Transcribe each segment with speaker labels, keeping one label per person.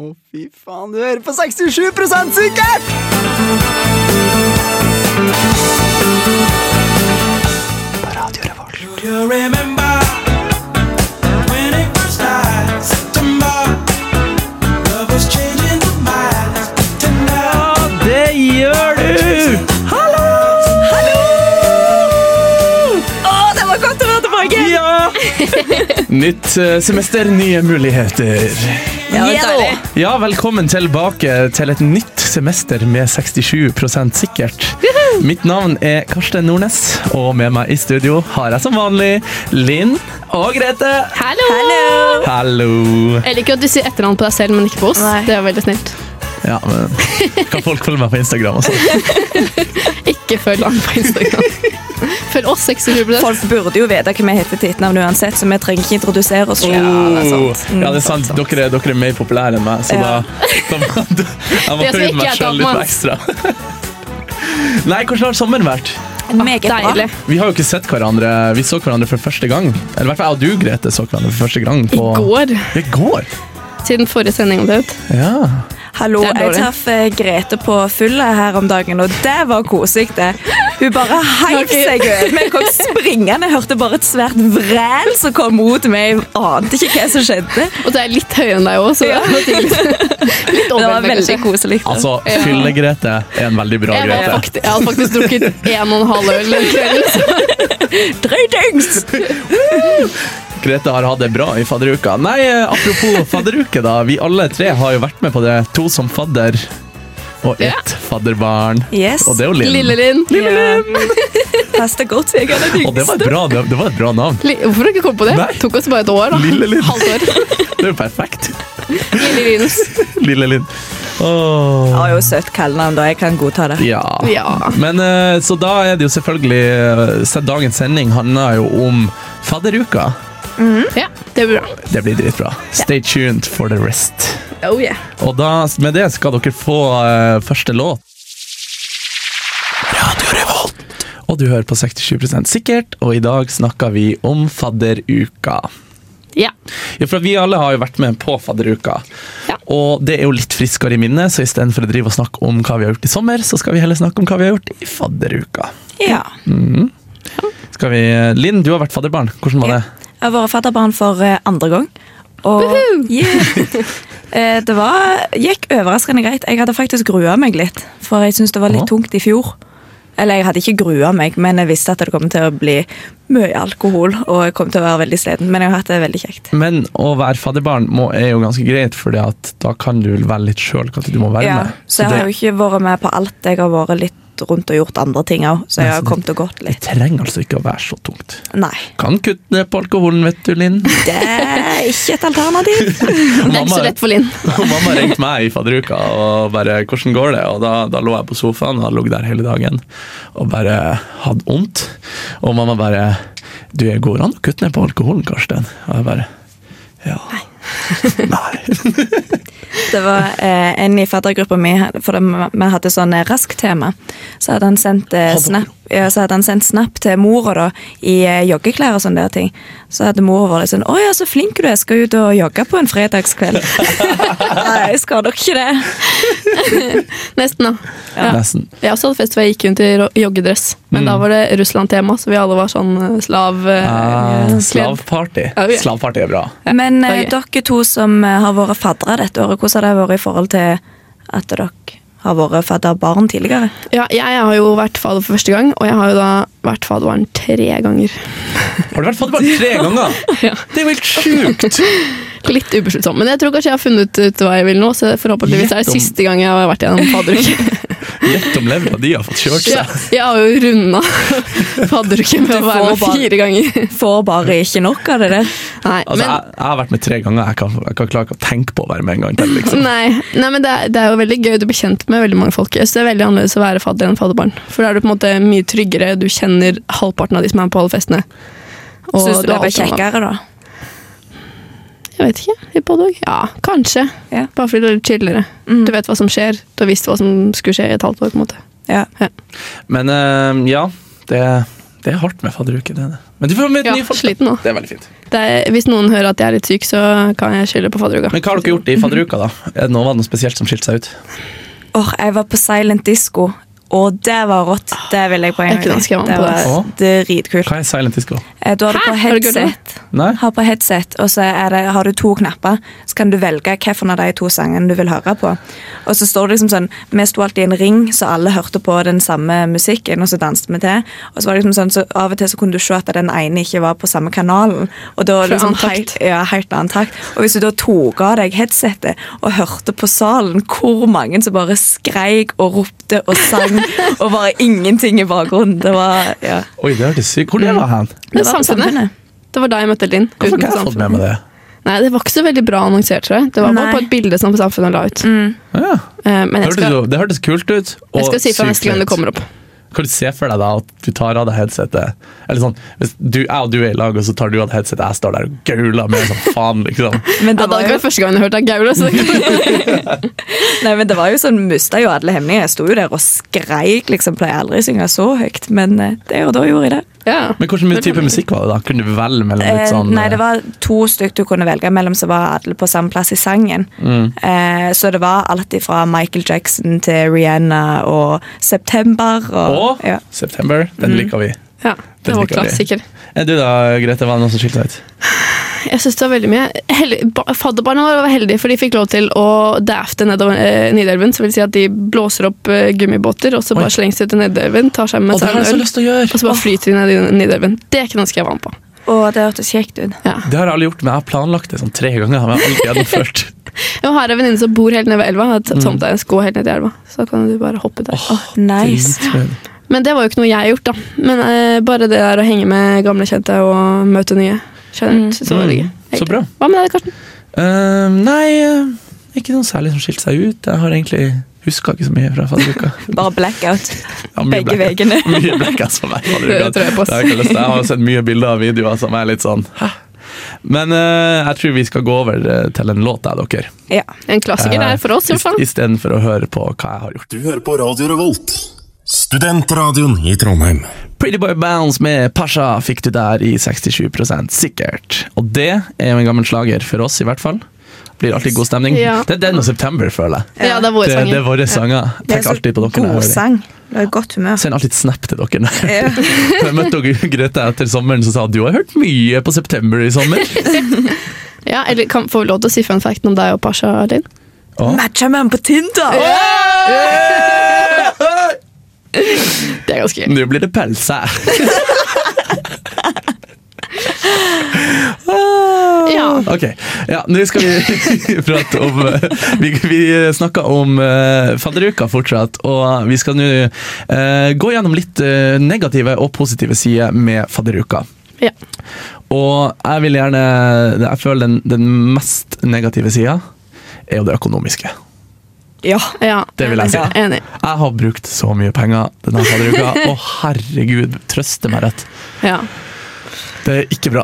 Speaker 1: Å, fy faen, du hører på 67 sikkert! På Radio Revolt.
Speaker 2: You remember when it first started, September. Love was changing the minds. Tonight,
Speaker 3: Det gjør du! Hallo!
Speaker 4: Å, det var godt å være tilbake!
Speaker 3: Ja! Nytt eh, semester, nye muligheter.
Speaker 4: Ja,
Speaker 5: Ja,
Speaker 4: deilig.
Speaker 3: Ja, velkommen tilbake til et nytt semester med 67 sikkert. Mitt navn er Karsten Nordnes, og med meg i studio har jeg som vanlig Linn og Grete.
Speaker 5: Hallo!
Speaker 3: Hallo.
Speaker 5: Jeg liker at du sier etternavn på deg selv, men ikke på oss.
Speaker 4: Nei.
Speaker 5: Det er veldig snilt.
Speaker 3: Ja, men kan folk følge meg på Instagram sånn? også?
Speaker 5: Ikke følg han på Instagram. Følg oss 67
Speaker 4: Folk burde jo vite hva vi heter til etternavn uansett, så vi trenger ikke introdusere oss. selv.
Speaker 3: Oh,
Speaker 4: Mm,
Speaker 3: Ja, det er sant. Dere, er- dere er mer populære enn meg, så
Speaker 4: Ja.
Speaker 3: da, da, da Jeg må
Speaker 5: Det som
Speaker 3: prøve
Speaker 5: ikke
Speaker 3: meg
Speaker 5: er
Speaker 3: selv litt ekstra. Nei, hvordan har sommeren vært?
Speaker 4: Meget bra.
Speaker 5: Deilig.
Speaker 3: Vi har jo ikke sett hverandre Vi så hverandre for første gang. Eller i hvert fall jeg og du, Grete, så hverandre for første gang.
Speaker 5: I
Speaker 3: På
Speaker 5: går,
Speaker 3: I går?
Speaker 5: siden forrige sending om det ut.
Speaker 3: Ja.
Speaker 4: Hallo,
Speaker 5: Det er
Speaker 4: jeg
Speaker 5: dårlig.
Speaker 4: traff eh, Grete på Fulla her om dagen, og det var koselig, det. Hun bare heiv
Speaker 5: Ok.
Speaker 4: seg ut. Vi kom springende, hørte bare et svært vræl som kom mot meg. Jeg Ante ikke hva som skjedde.
Speaker 5: Og det er litt høyere enn deg òg, så det
Speaker 4: Ja.
Speaker 5: var litt,
Speaker 4: Det
Speaker 5: litt
Speaker 4: var
Speaker 5: overveldende,
Speaker 4: veldig
Speaker 5: kanskje.
Speaker 4: koselig.
Speaker 3: Altså, Fylle-Grete er en veldig bra
Speaker 5: Jeg, var
Speaker 3: Grete.
Speaker 5: faktisk, jeg hadde faktisk drukket en og en halv øl den kvelden. så
Speaker 4: Drøydings!
Speaker 3: Grete har hatt det bra i fadderuka. Nei, eh, apropos fadderuke, da. Vi alle tre har jo vært med på det. To som fadder og ett
Speaker 5: Ja.
Speaker 3: fadderbarn.
Speaker 4: Yes.
Speaker 3: Og det er jo Linn.
Speaker 5: Lille Linn.
Speaker 4: Ja. Passet godt, jeg er den
Speaker 3: Og det var, et
Speaker 4: yngste.
Speaker 3: bra, det, det var et bra navn.
Speaker 5: Li- Hvorfor har du ikke kommet på det?
Speaker 3: Nei.
Speaker 5: Tok oss bare et år, da.
Speaker 3: Lille Linn.
Speaker 5: Halvt år.
Speaker 3: Det er jo perfekt.
Speaker 5: Lille Linus.
Speaker 3: Lille Linn. Åh.
Speaker 4: Har jo søtt kallenavn, da. Jeg kan godta det.
Speaker 3: Ja.
Speaker 5: Ja.
Speaker 3: Men eh, så da er det jo selvfølgelig eh, så Dagens sending handler jo om fadderuka.
Speaker 5: Ja, det blir bra.
Speaker 3: Det blir dritbra. Stay tuned for the rest.
Speaker 5: Oh yeah.
Speaker 3: Og da, med det skal dere få eh, første låt. Radio Revolt. Og du hører på 67 sikkert, og i dag snakker vi om fadderuka.
Speaker 5: Ja.
Speaker 3: Ja, for vi alle har jo vært med på fadderuka.
Speaker 5: Ja.
Speaker 3: Og det er jo litt friskere i minnet, så istedenfor å drive og snakke om hva vi har gjort i sommer, så skal vi heller snakke om hva vi har gjort i fadderuka.
Speaker 4: Ja.
Speaker 3: Skal vi, eh, Linn, du har vært fadderbarn. Hvordan var
Speaker 4: Ja.
Speaker 3: det?
Speaker 4: Jeg har vært fadderbarn for eh, andre gang. Og yeah. Eh, det var, gikk overraskende greit. Jeg hadde faktisk grua meg litt, for jeg syntes det var litt
Speaker 3: Åh.
Speaker 4: tungt i fjor. Eller jeg hadde ikke grua meg, men jeg visste at det kom til å bli mye alkohol. Og jeg kom til å være veldig sliten, men jeg har hatt det veldig kjekt.
Speaker 3: Men å være fadderbarn må, er jo ganske greit, for da kan du vel velge litt sjøl hva du må være
Speaker 4: Ja,
Speaker 3: med.
Speaker 4: så jeg har jo
Speaker 3: det,
Speaker 4: ikke vært med på alt. Jeg har vært litt rundt og gjort andre ting òg, så jeg
Speaker 3: Nei, så
Speaker 4: har
Speaker 3: det-
Speaker 4: kommet og gått
Speaker 3: det
Speaker 4: litt.
Speaker 3: trenger altså ikke å være så tungt.
Speaker 4: Nei,
Speaker 3: Kan kutte ned på alkoholen, vet du, Linn.
Speaker 4: det er ikke et alternativ.
Speaker 5: Det er ikke så lett for Linn.
Speaker 3: Og mamma ringte meg i fadderuka og bare 'hvordan går det?' Og da, da lå jeg på sofaen og hadde ligget der hele dagen og bare hadde vondt. Og mamma bare 'du, jeg går an å kutte ned på alkoholen, Karsten'. Og jeg bare ja. Nei.
Speaker 4: Det var eh, en i faddergruppa mi, for det, vi hadde sånn eh, raskt tema. Så hadde han sendt, eh,
Speaker 3: Hadde-
Speaker 4: snap, ja, så hadde han sendt snap til mora da, i eh, joggeklær og sånne der ting. Så hadde mora vært litt sånn 'Å ja, så flink du er, skal ut og jogge på en fredagskveld'. Nei, jeg skal nok ikke det.
Speaker 5: Nesten, da. Ja.
Speaker 3: Nesten.
Speaker 5: Jeg også hadde fest hvor jeg gikk rundt i ro- joggedress, men
Speaker 4: Mm.
Speaker 5: da var det Russland-tema, så vi alle var sånn eh, slav... eh,
Speaker 3: Ah,
Speaker 5: kledd.
Speaker 3: slavparty.
Speaker 5: Ja, ja.
Speaker 3: Slavparty er bra.
Speaker 4: Men
Speaker 5: det
Speaker 4: eh,
Speaker 5: er gøy.
Speaker 4: dere to som eh, har vært faddere dette året, hvordan har det vært i forhold til at dere har vært fadderbarn tidligere?
Speaker 5: Ja, jeg har jo vært fader for første gang, og jeg har jo da vært faderen tre ganger.
Speaker 3: Har du vært fadderbarn tre ganger?
Speaker 5: Ja.
Speaker 3: Det er jo helt sjukt!
Speaker 5: Litt ubesluttsom, men jeg tror kanskje jeg har funnet ut hva jeg vil nå, så forhåpentligvis er
Speaker 3: Gjett
Speaker 5: det
Speaker 3: om-
Speaker 5: siste gang jeg har vært gjennom fadderuke.
Speaker 3: Gjett om levra di har fått kjørt
Speaker 5: Ja,
Speaker 3: seg.
Speaker 5: jeg har jo runda fadderuke med å
Speaker 4: Du
Speaker 5: være
Speaker 4: får
Speaker 5: med
Speaker 4: bare-
Speaker 5: fire ganger.
Speaker 4: Får bare ikke nok av det der.
Speaker 5: Nei,
Speaker 3: Altså,
Speaker 5: men...
Speaker 3: jeg, jeg har vært med tre ganger. Jeg kan, jeg kan klare ikke å tenke på å være med en gang til. Liksom.
Speaker 5: Nei, nei, men det er, det er jo veldig gøy. Du blir kjent med veldig mange folk. Jeg synes det er veldig annerledes å være fadder enn fadderbarn. For da er du på en måte mye tryggere. Du kjenner halvparten av de som er med på alle festene. Og
Speaker 4: Syns du det ble
Speaker 5: har alt annet.
Speaker 4: kjekkere da?
Speaker 5: Jeg vet ikke. Litt på dag. Ja, kanskje.
Speaker 4: Ja.
Speaker 5: Bare fordi det er litt chillere.
Speaker 4: Mm.
Speaker 5: Du vet hva som skjer. Du har visst hva som skulle skje i et halvt år. på en måte.
Speaker 4: Ja.
Speaker 3: Men eh, ja, det, Det er hardt med fadderuke. Det er det. Men du får møte
Speaker 5: Ja,
Speaker 3: nye folk. da.
Speaker 5: sliten nå.
Speaker 3: Det er veldig fint.
Speaker 5: Det er, hvis noen hører at jeg er litt syk, så kan jeg skylde på fadderuka.
Speaker 3: Men hva har dere gjort i fadderuka, da? Er det noe, var det noe spesielt som skilte seg ut?
Speaker 4: Åh, jeg var på silent disco, og det var rått. Det vil jeg på en
Speaker 5: Jeg kunne
Speaker 4: gang.
Speaker 5: ønske jeg var med
Speaker 4: Det
Speaker 5: på
Speaker 4: var
Speaker 5: det.
Speaker 3: Åh.
Speaker 4: dritkult.
Speaker 3: Hva er silent disco?
Speaker 4: Eh, Da har du på
Speaker 5: Har du gjort det?
Speaker 4: headset,
Speaker 3: Nei?
Speaker 4: har på headset og så er det, har du to knapper. Så kan du velge hvilken av de to sangene du vil høre på. Og så står det liksom sånn Vi sto alltid i en ring, så alle hørte på den samme musikken, og så danset vi til. Og så var det liksom sånn, så Av og til så kunne du se at den ene ikke var på samme kanalen. Og da
Speaker 5: Fra
Speaker 4: liksom
Speaker 5: annen takt.
Speaker 4: helt- Ja, helt annen takt. Og hvis du da tok av deg headsetet og hørte på salen hvor mange som bare skreik og ropte og sang, og bare ingenting i bakgrunnen, det var ja.
Speaker 3: Oi, det hørtes sykt Hvor det
Speaker 5: Mm.
Speaker 3: var hen?
Speaker 5: Det,
Speaker 4: Det var på
Speaker 5: samfunnet.
Speaker 4: Samfunnet.
Speaker 5: det var da jeg møtte Linn.
Speaker 3: Hvorfor har
Speaker 5: utenfor
Speaker 3: ikke jeg fått med
Speaker 5: samfunnet.
Speaker 3: meg det?
Speaker 5: Nei, Det var ikke så veldig bra annonsert, tror jeg. Det var
Speaker 4: Nei. Mm.
Speaker 5: bare på et bilde som Samfunnet la ut.
Speaker 3: Ja.
Speaker 5: Eh, Men
Speaker 3: Det,
Speaker 5: jeg
Speaker 3: hørtes,
Speaker 5: skal,
Speaker 3: jo- det hørtes kult ut. Og
Speaker 5: jeg skal si fra neste gang det kommer opp.
Speaker 3: Kan du se for deg da at du tar av deg headsetet Eller sånn, hvis du, jeg og du er i lag, og så tar du av deg headsetet, jeg står der og gauler med sånn faen, liksom.
Speaker 4: Men
Speaker 5: Ja,
Speaker 4: det
Speaker 5: det
Speaker 4: var
Speaker 5: hadde
Speaker 4: jo
Speaker 5: ikke vært første gangen jeg hørte av Gaula. Så det
Speaker 4: Nei, men det var jo sånn, mista jo alle hemninger. Jeg sto jo der og skreik, liksom. Pleier aldri å synge så høyt, men eh, det og da gjorde jeg det.
Speaker 5: ja.
Speaker 3: Men hvilken type musikk var det da? Kunne du velge mellom
Speaker 4: Eh,
Speaker 3: litt sånn
Speaker 4: Nei, det var to stykk du kunne velge mellom som var alle på samme plass i sangen.
Speaker 3: Mm.
Speaker 4: Eh, så det var alt fra Michael Jackson til Rihanna og September og
Speaker 3: Og
Speaker 4: ja. Mhm.
Speaker 3: September. Den liker vi.
Speaker 5: ja,
Speaker 3: Den
Speaker 5: det var
Speaker 3: liker vi.
Speaker 5: klassiker.
Speaker 3: Er du da, Grete, var det noen som skilte seg ut?
Speaker 5: Jeg synes det var veldig mye. Heldig- ba- Fadderbarna våre var heldige, for de fikk lov til å dafte nedover eh, Nidelven. Så vil si at de blåser opp eh, gummibåter, og så
Speaker 3: Oi.
Speaker 5: bare slengs de ut i Nidelven, tar seg med
Speaker 3: Å, det
Speaker 5: seg
Speaker 3: har
Speaker 5: en
Speaker 3: jeg så
Speaker 5: øl,
Speaker 3: lyst til å gjøre!
Speaker 5: og
Speaker 4: Altså-
Speaker 5: så bare flyter de ned i Nidelven. Det kunne jeg ønske jeg var med på.
Speaker 4: Og det hørtes kjekt ut.
Speaker 5: Ja.
Speaker 3: Det har jeg aldri gjort, men jeg har planlagt det sånn tre ganger. Men jeg har aldri gjennomført.
Speaker 5: Jeg har en venninne som bor helt nede ved elva. Har
Speaker 3: Mm.
Speaker 5: tomt deg en sko helt ned i elva. Så kan du bare hoppe der.
Speaker 4: Nice.
Speaker 3: Dritfett.
Speaker 5: Men det var jo ikke noe jeg har gjort, da. Men eh, bare det der å henge med gamle kjente og møte nye. Generelt, så var det gøy.
Speaker 3: Mm, så bra.
Speaker 5: Hva med deg, Karsten?
Speaker 3: Eh, nei, ikke noe særlig som skilte seg ut. Jeg har egentlig huska ikke så mye fra fadderuka.
Speaker 4: Bare blackout.
Speaker 3: Ja, mye
Speaker 4: Begge
Speaker 3: blackout.
Speaker 4: veiene.
Speaker 3: Mye blackouts for meg. fadderuka.
Speaker 5: Det tror jeg på, ass.
Speaker 3: Det har jeg, ikke lyst til. jeg har sett mye bilder og videoer som er litt sånn hæ? Men eh, jeg tror vi skal gå over eh, til en låt, jeg, dere. Eh,
Speaker 4: Ja.
Speaker 5: En klassiker der for oss, i hvert fall.
Speaker 3: Istedenfor å høre på hva jeg har gjort.
Speaker 6: Du hører på Radio Revolt, studentradioen i Trondheim.
Speaker 3: Pretty Boy Bounce med Pasha fikk du der i 67 sikkert. Og det er jo en gammel slager for oss, i hvert fall. Blir alltid god stemning.
Speaker 5: Ja.
Speaker 3: Det er den og September, føler jeg.
Speaker 5: Ja, det er
Speaker 3: Det,
Speaker 5: våre
Speaker 3: det er
Speaker 5: sanger.
Speaker 3: våre sanger. Jeg
Speaker 4: Det er
Speaker 3: tenker
Speaker 4: så
Speaker 3: alltid på dere. når jeg
Speaker 4: god
Speaker 3: hører det.
Speaker 4: sang. Det er godt humør.
Speaker 3: Send alltid snap til dere. når jeg- Når jeg møtte dere Grete etter sommeren, så sa hun du har hørt mye på September i sommer.
Speaker 5: Ja, eller kan, Får vi lov til å si fun facten om deg og Pasha, Linn?
Speaker 4: Matcha med han på Tinder!
Speaker 5: Det er ganske gøy.
Speaker 3: Nå blir det pølse.
Speaker 5: Ja.
Speaker 3: Ok, ja, nå skal vi prate om eh, Vi, vi snakker om eh, fadderuka fortsatt, og vi skal nå eh, gå gjennom litt eh, negative og positive sider med fadderuka.
Speaker 5: Ja.
Speaker 3: Og jeg vil gjerne Jeg føler den, den mest negative sida er jo det økonomiske.
Speaker 4: Ja.
Speaker 5: ja.
Speaker 3: Det vil jeg si.
Speaker 5: Enig.
Speaker 3: Jeg har brukt så mye penger denne fadderuka, og herregud, trøste meg rett.
Speaker 5: Ja.
Speaker 3: Det er ikke bra.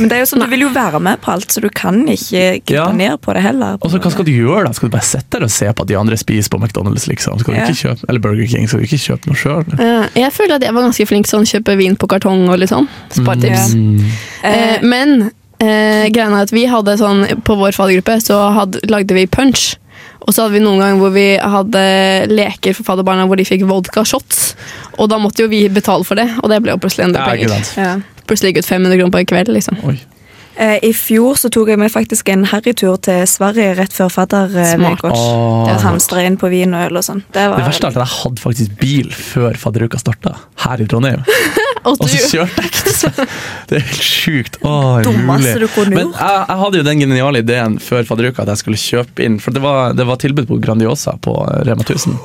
Speaker 4: Men det er jo sånn, du vil jo være med på alt, så du kan ikke kutte
Speaker 3: Ja.
Speaker 4: ned på det heller.
Speaker 3: Og så Hva skal du gjøre? da? Skal du bare sitte der og se på at de andre spiser på McDonald's? liksom? Skal du
Speaker 4: Ja.
Speaker 3: ikke kjøpe, Eller Burger King? Skal du ikke kjøpe noe sjøl?
Speaker 5: Eh, Jeg føler at jeg var ganske flink sånn kjøpe vin på kartong og litt sånn.
Speaker 3: Mm.
Speaker 5: Sparetips. Eh, men eh, greia er at vi hadde sånn På vår faddergruppe så hadde, lagde vi punch. Og så hadde vi noen ganger hvor vi hadde leker for fadderbarna hvor de fikk vodka shots. Og da måtte jo vi betale for det, og det ble jo plutselig en del
Speaker 3: Ja, ikke
Speaker 5: penger.
Speaker 3: sant.
Speaker 5: Ja. Plutselig gikk ut 500 kroner på en kveld, liksom.
Speaker 3: Oi.
Speaker 4: Eh, I fjor så tok jeg meg faktisk en herretur til Sverige rett før fadder eh,
Speaker 5: Smart.
Speaker 4: vekk oss.
Speaker 3: Åh.
Speaker 4: Og hamstra inn på vin og øl og sånn. Det var
Speaker 3: Det verste er at jeg hadde faktisk bil før fadderuka starta, her i Trondheim.
Speaker 5: Og
Speaker 3: Og så
Speaker 5: du,
Speaker 3: kjørte jeg ikke til Sverige! Det er helt sjukt. Åh, er det
Speaker 4: Dummeste
Speaker 3: mulig?
Speaker 4: du kunne
Speaker 3: Men
Speaker 4: gjort.
Speaker 3: jeg, jeg hadde jo den geniale ideen før fadderuka at jeg skulle kjøpe inn. For det var, det var tilbud på Grandiosa på Rema 1000.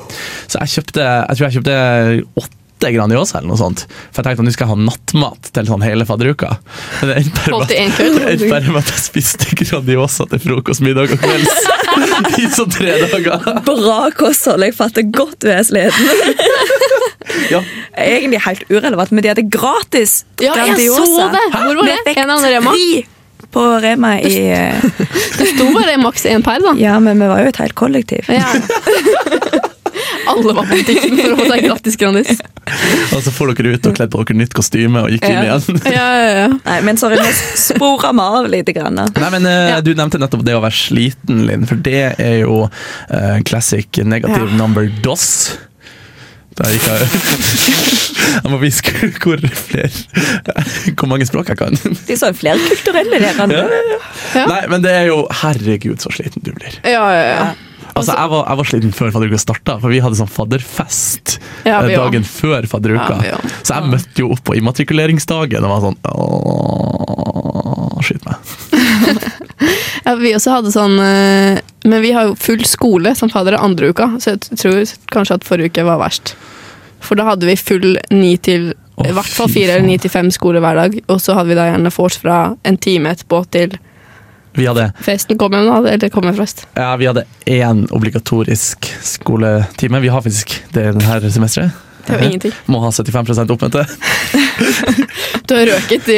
Speaker 3: Så jeg kjøpte jeg tror jeg kjøpte åtte Grandiosa eller noe sånt. For jeg tenkte at nå skal jeg ha nattmat til sånn hele fadderuka. Men det endte bare med
Speaker 5: Holdt i
Speaker 3: at-
Speaker 5: en kveld.
Speaker 3: det endte bare med at jeg spiste Grandiosa til frokost, middag og kvelds i sånn tre dager.
Speaker 4: bra kosthold. Jeg fatter godt du er sliten.
Speaker 3: Ja.
Speaker 4: Egentlig helt urelevant, men de hadde gratis
Speaker 5: Ja, jeg
Speaker 4: Grandiosa.
Speaker 5: så det. Hvor var
Speaker 4: Vi
Speaker 5: det?
Speaker 4: fikk
Speaker 5: En annen Rema?
Speaker 4: Tre på Rema i eh,
Speaker 5: det sto bare maks én per, da.
Speaker 4: Ja, men vi var jo et helt kollektiv.
Speaker 5: Ja. Alle var på butikken for å få seg gratis Grandis.
Speaker 3: Og så får dere ut og kledd på dere nytt kostyme og gikk inn
Speaker 4: Ja.
Speaker 3: igjen.
Speaker 5: Ja, ja, ja.
Speaker 4: Nei, men sorry, vi sporer meg av lite grann. da.
Speaker 3: Nei, men eh, Du nevnte nettopp det å være sliten, Linn, for det er jo eh, classic negative
Speaker 5: Ja.
Speaker 3: number dos. Der gikk jeg Jeg må viske hvor flere Hvor mange språk jeg kan.
Speaker 4: De er sånn flerkulturelle, dere.
Speaker 3: Ja, ja, ja.
Speaker 5: Ja.
Speaker 3: Nei, men det er jo Herregud, så sliten du blir.
Speaker 5: ja, ja, ja.
Speaker 3: Altså, jeg var, jeg var sliten før fadderuka starta, for vi hadde sånn fadderfest
Speaker 5: Ja,
Speaker 3: eh,
Speaker 5: vi også.
Speaker 3: dagen før fadderuka.
Speaker 5: Ja, vi også.
Speaker 3: så jeg møtte jo opp på immatrikuleringsdagen og var sånn Åh, Skyt meg.
Speaker 5: ja vi også hadde sånn eh, Men vi har jo full skole som fader andre uka, så jeg t- tror kanskje at forrige uke var verst. For da hadde vi full ni til
Speaker 3: Å,
Speaker 5: I hvert fall
Speaker 3: fy
Speaker 5: fire
Speaker 3: faen.
Speaker 5: eller ni til fem skole hver dag, og så hadde vi da gjerne vors fra en time etterpå til
Speaker 3: Vi hadde
Speaker 5: festen kom hjem, da, eller kom hjem først.
Speaker 3: Ja, vi hadde én obligatorisk skoletime. Vi har faktisk det dette semesteret.
Speaker 5: Det var ingenting.
Speaker 3: Må ha 75 oppmøte.
Speaker 5: Du har røket de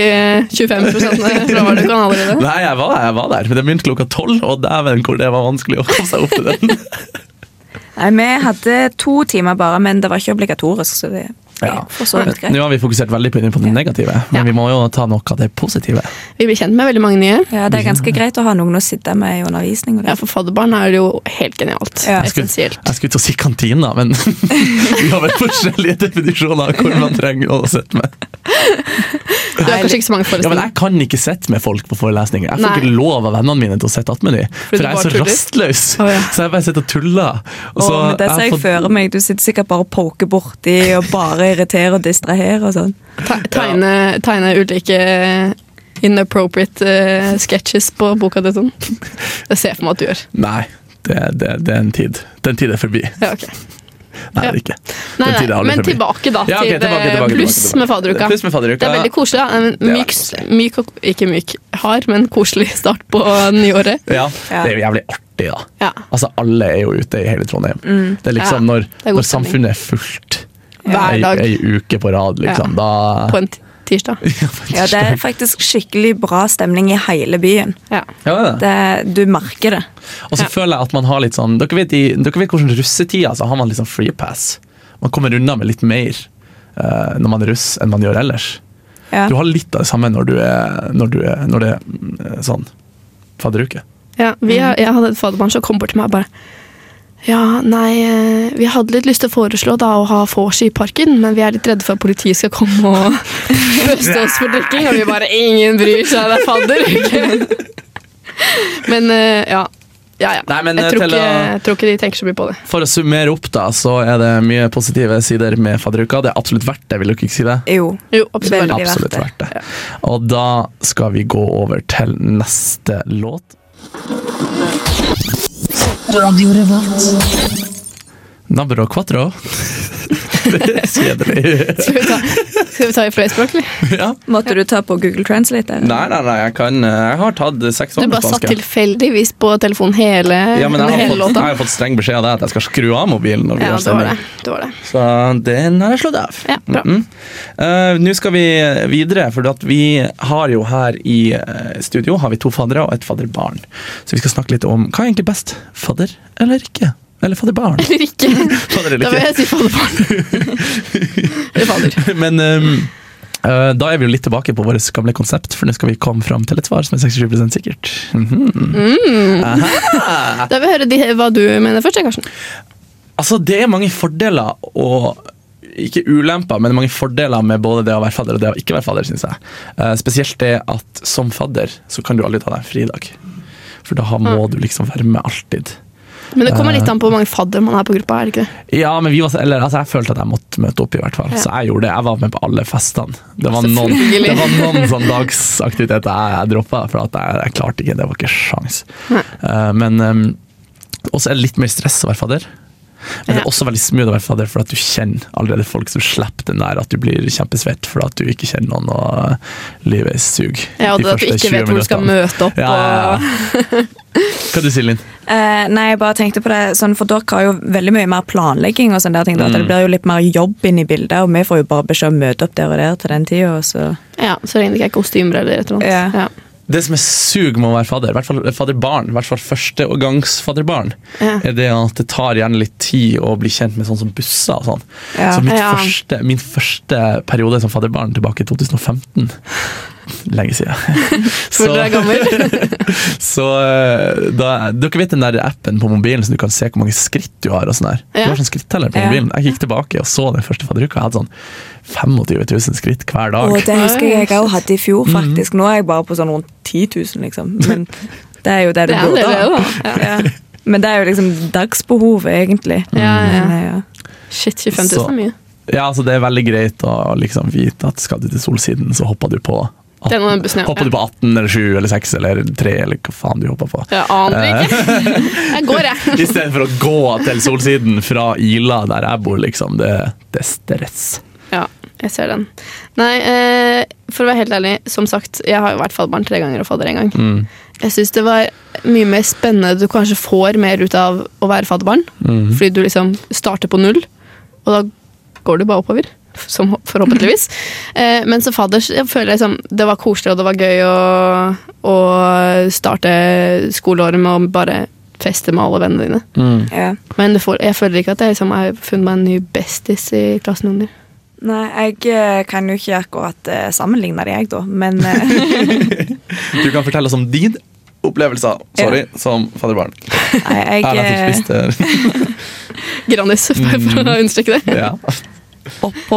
Speaker 5: 25 fraværsdagene allerede.
Speaker 3: Nei, jeg var, jeg var der, men det begynte klokka tolv, og dæven hvor det var vanskelig å komme seg opp til den.
Speaker 4: Nei, Vi hadde to timer bare, men det var ikke obligatorisk. så det
Speaker 3: Ja.
Speaker 4: er for så vidt greit.
Speaker 3: Nå har vi fokusert veldig på på det negative, men
Speaker 5: Ja.
Speaker 3: vi må jo ta noe av det positive.
Speaker 5: Vi ble kjent med veldig mange nye.
Speaker 4: Ja, Det er ganske greit å ha noen å sitte med i undervisning. Og
Speaker 5: Ja,
Speaker 4: det.
Speaker 5: For fadderbarn er det jo helt genialt.
Speaker 4: Ja.
Speaker 3: Jeg skulle,
Speaker 5: Essensielt.
Speaker 3: jeg skulle til å si kantina, men vi har vel forskjellige definisjoner av hvor man trenger å sitte med.
Speaker 5: Du har kanskje ikke så mange
Speaker 3: Ja, men
Speaker 5: forestillinger.
Speaker 3: Jeg kan ikke sitte med folk på forelesninger. Jeg får
Speaker 5: Nei.
Speaker 3: ikke lov av vennene mine til å sitte attmed dem. For
Speaker 5: du
Speaker 3: jeg er
Speaker 5: bare
Speaker 3: så
Speaker 5: tuller?
Speaker 3: rastløs.
Speaker 5: Å, ja.
Speaker 3: Så jeg bare sitter og tuller. Og
Speaker 4: Å,
Speaker 3: så
Speaker 4: men det
Speaker 3: har
Speaker 4: ser jeg
Speaker 3: fått-
Speaker 4: føre meg. Du sitter sikkert bare og poker borti og bare irriterer og distraherer. og sånn.
Speaker 5: Te- Tegne, tegne ulike inappropriate eh, sketches på boka di. og sånn. Det ser jeg for meg at du gjør.
Speaker 3: Nei, det, det, det er en tid. Den tid er forbi.
Speaker 5: Ja, ok.
Speaker 3: Nei,
Speaker 5: Ja.
Speaker 3: det er ikke.
Speaker 5: Nei,
Speaker 3: Den
Speaker 5: nei,
Speaker 3: tid er aldri
Speaker 5: men
Speaker 3: forbi.
Speaker 5: tilbake da til
Speaker 3: Ja, ok,
Speaker 5: eh,
Speaker 3: tilbake, tilbake, tilbake,
Speaker 5: pluss
Speaker 3: tilbake.
Speaker 5: med fadderuka.
Speaker 3: Pluss med fadderuka.
Speaker 5: Det er veldig koselig. da. En
Speaker 3: er
Speaker 5: myk, myk og ikke myk, hard, men koselig start på nyåret.
Speaker 3: Ja,
Speaker 4: Ja.
Speaker 3: Det er jo jævlig artig, da.
Speaker 5: Ja. Mm.
Speaker 3: Altså, Alle er jo ute i hele Trondheim. Det er liksom
Speaker 5: Ja,
Speaker 3: når,
Speaker 5: er god
Speaker 3: når
Speaker 5: stemning.
Speaker 3: samfunnet er fullt
Speaker 5: Hver
Speaker 3: ei,
Speaker 5: dag.
Speaker 3: ei uke på rad, liksom. Da
Speaker 5: På en t- tirsdag.
Speaker 3: Ja, faktisk.
Speaker 4: Ja, Det er faktisk skikkelig bra stemning i hele byen.
Speaker 5: Ja.
Speaker 3: Ja, det er
Speaker 4: Det,
Speaker 3: det.
Speaker 4: du merker det.
Speaker 3: Og så
Speaker 5: Ja.
Speaker 3: føler jeg at man har litt sånn Dere vet, i, dere vet hvordan russetida så har man litt sånn free pass. Man kommer unna med litt mer eh, når man er russ, enn man gjør ellers.
Speaker 4: Ja.
Speaker 3: Du har litt av det samme når, du er, når, du er, når det er mm, sånn fadderuke.
Speaker 5: Ja, vi, har- jeg hadde et fadderbarn som kom bort til meg og bare Ja, nei, eh, vi hadde litt lyst til å foreslå da å ha vors i parken, men vi er litt redde for at politiet skal komme og feste oss for drikking. Og vi bare Ingen bryr seg, det er fadder. men eh, ja. Ja, ja.
Speaker 3: Nei, men,
Speaker 5: jeg,
Speaker 3: eh,
Speaker 5: tror
Speaker 3: til å-
Speaker 5: ikke, jeg tror ikke de tenker så mye på det.
Speaker 3: For å summere opp, da, så er det mye positive sider med fadderuka. Det er absolutt verdt det, vil dere ikke si det?
Speaker 4: Jo.
Speaker 5: Jo, absolutt.
Speaker 4: Veldig. verdt
Speaker 3: Absolutt
Speaker 4: det.
Speaker 3: verdt det. Og da skal vi gå over til neste låt. Nabro quattro. Det er så kjedelig.
Speaker 5: Skal vi ta, skal vi ta i flerspråk, eller?
Speaker 3: Ja.
Speaker 4: Måtte du ta på Google Translate? eller?
Speaker 3: Nei, nei, nei, jeg, kan, eh, jeg har tatt seks år
Speaker 5: Du
Speaker 3: med
Speaker 5: bare satt
Speaker 3: spansk. jeg.
Speaker 5: tilfeldigvis på telefonen hele,
Speaker 3: Ja, men jeg har,
Speaker 5: hele
Speaker 3: fått, jeg
Speaker 5: låta.
Speaker 3: har fått streng beskjed av deg at jeg skal skru av mobilen. Når vi
Speaker 5: Ja,
Speaker 3: har
Speaker 5: det var det.
Speaker 3: sending.
Speaker 5: det, var det.
Speaker 3: Så den har jeg slått av.
Speaker 5: Ja, bra.
Speaker 3: Mm. Eh, Nå skal vi videre, for at vi har jo her i eh, studio har vi to faddere og et fadderbarn. Så vi skal snakke litt om hva er egentlig best, fadder eller ikke? Eller fadderbarn?
Speaker 5: Eller ikke.
Speaker 3: Fadder
Speaker 5: Da
Speaker 3: eller
Speaker 5: vil
Speaker 3: ikke?
Speaker 5: jeg si fadderbarn. Eller fadder.
Speaker 3: Men ehm, eh, da er vi jo litt tilbake på vårt gamle konsept, for nå skal vi komme fram til et svar som er 67 sikkert. Mhm.
Speaker 5: Da vil jeg høre de, hva du mener først, jeg, Karsten.
Speaker 3: Altså, det er mange fordeler og ikke ulemper, men mange fordeler med både det å være fadder og det å ikke være fadder, synes jeg. Eh, spesielt det at som fadder så kan du aldri ta deg en fridag. For da må du liksom være med alltid.
Speaker 5: Men det kommer litt an på hvor mange fadder man er på gruppa. er det ikke det?
Speaker 3: Ja, men vi var, så- eller, altså, jeg følte at jeg måtte møte opp, i hvert fall.
Speaker 5: Ja.
Speaker 3: Så jeg gjorde det. Jeg var med på alle festene. Det var noen,
Speaker 5: Selvfølgelig.
Speaker 3: det var noen sånn dagsaktiviteter jeg, jeg droppa, for at jeg, jeg klarte ikke. Det var ikke sjans. Eh, men um, også er det litt mer stress å være fadder. Men det
Speaker 5: Ja.
Speaker 3: er også veldig smooth å være fadder, for at du kjenner allerede folk som slipper den der at du blir kjempesvett for at du ikke kjenner noen, og livet suger.
Speaker 5: Ja, og
Speaker 3: de
Speaker 5: det at du
Speaker 3: første
Speaker 5: ikke
Speaker 3: 20
Speaker 5: vet hvor du skal
Speaker 3: minuttene.
Speaker 5: møte opp.
Speaker 3: Ja, ja,
Speaker 5: Og...
Speaker 3: ja. Hva du sier Linn?
Speaker 4: Eh, nei, jeg bare tenkte på det, sånn, for dere har jo veldig mye mer planlegging. og sånne der ting, da, at Det blir jo litt mer jobb inn i bildet, og vi får jo bare beskjed om å møte opp der og der til den tida.
Speaker 5: Ja, Så lenge det ikke er kostymer eller et eller annet.
Speaker 4: Ja.
Speaker 5: Ja.
Speaker 3: det som er sug med å være fadder, i hvert fall fadderbarn, i hvert fall førstegangsfadderbarn,
Speaker 5: Ja.
Speaker 3: er det at det tar gjerne litt tid å bli kjent med sånn som busser og sånn.
Speaker 4: Ja.
Speaker 3: Så mitt
Speaker 5: Ja.
Speaker 3: første, min første periode som fadderbarn tilbake i 2015 Lenge siden.
Speaker 5: For du er gammel.
Speaker 3: så eh, da, Dere vet den der appen på mobilen så du kan se hvor mange skritt du har? og sånn der.
Speaker 5: Ja.
Speaker 3: Du har sånn skritteller på
Speaker 4: Ja.
Speaker 3: mobilen. Jeg gikk tilbake og så den første fadderuka. Jeg hadde sånn 25 000 skritt hver dag.
Speaker 4: Og det husker jeg jeg
Speaker 5: Oi,
Speaker 4: òg hadde i fjor, faktisk. Nå er jeg bare på sånn rundt 10 000, liksom. Men det er jo det du
Speaker 5: Det er en
Speaker 4: burde
Speaker 5: del, det,
Speaker 4: ha.
Speaker 5: da. Ja.
Speaker 4: Ja. Men det er jo liksom dagsbehovet, egentlig.
Speaker 5: Ja, ja.
Speaker 4: Men, eh, ja.
Speaker 5: Shit, 25 000 er mye.
Speaker 3: Ja, altså Det er veldig greit å liksom vite at skal du til Solsiden, så hopper du på 18,
Speaker 5: Den og den bussen, ja.
Speaker 3: hopper du på 18 eller 7 eller 6 eller 3 eller hva faen du hopper på.
Speaker 5: Jeg aner ikke. Jeg går, jeg.
Speaker 3: I stedet for å gå til Solsiden fra Ila, der jeg bor, liksom. Det, det er stress.
Speaker 5: Ja, jeg ser den. Nei, eh, for å være helt ærlig, som sagt, jeg har jo vært fadderbarn tre ganger og fadder en gang. Jeg syns det var mye mer spennende. Du kanskje får mer ut av å være fadderbarn, fordi du liksom starter på null, og da går du bare oppover. Som forhåpentligvis. Eh, men som fadder så føler jeg liksom, det var koselig og det var gøy å, å starte skoleåret med å bare feste med alle vennene dine.
Speaker 4: Ja.
Speaker 5: Men det får, jeg føler ikke at jeg liksom har funnet meg en ny bestis i klassen under.
Speaker 4: Nei, jeg eh, kan jo ikke akkurat eh, sammenligne det, jeg, da. Men eh,
Speaker 3: Du kan fortelle oss om din opplevelse sorry, som fadderbarn.
Speaker 4: nei, jeg
Speaker 3: Erlend fikk
Speaker 4: eh,
Speaker 3: spist det.
Speaker 5: Grannis, bare for å understreke det.
Speaker 3: Mhm. Ja.
Speaker 4: oppå,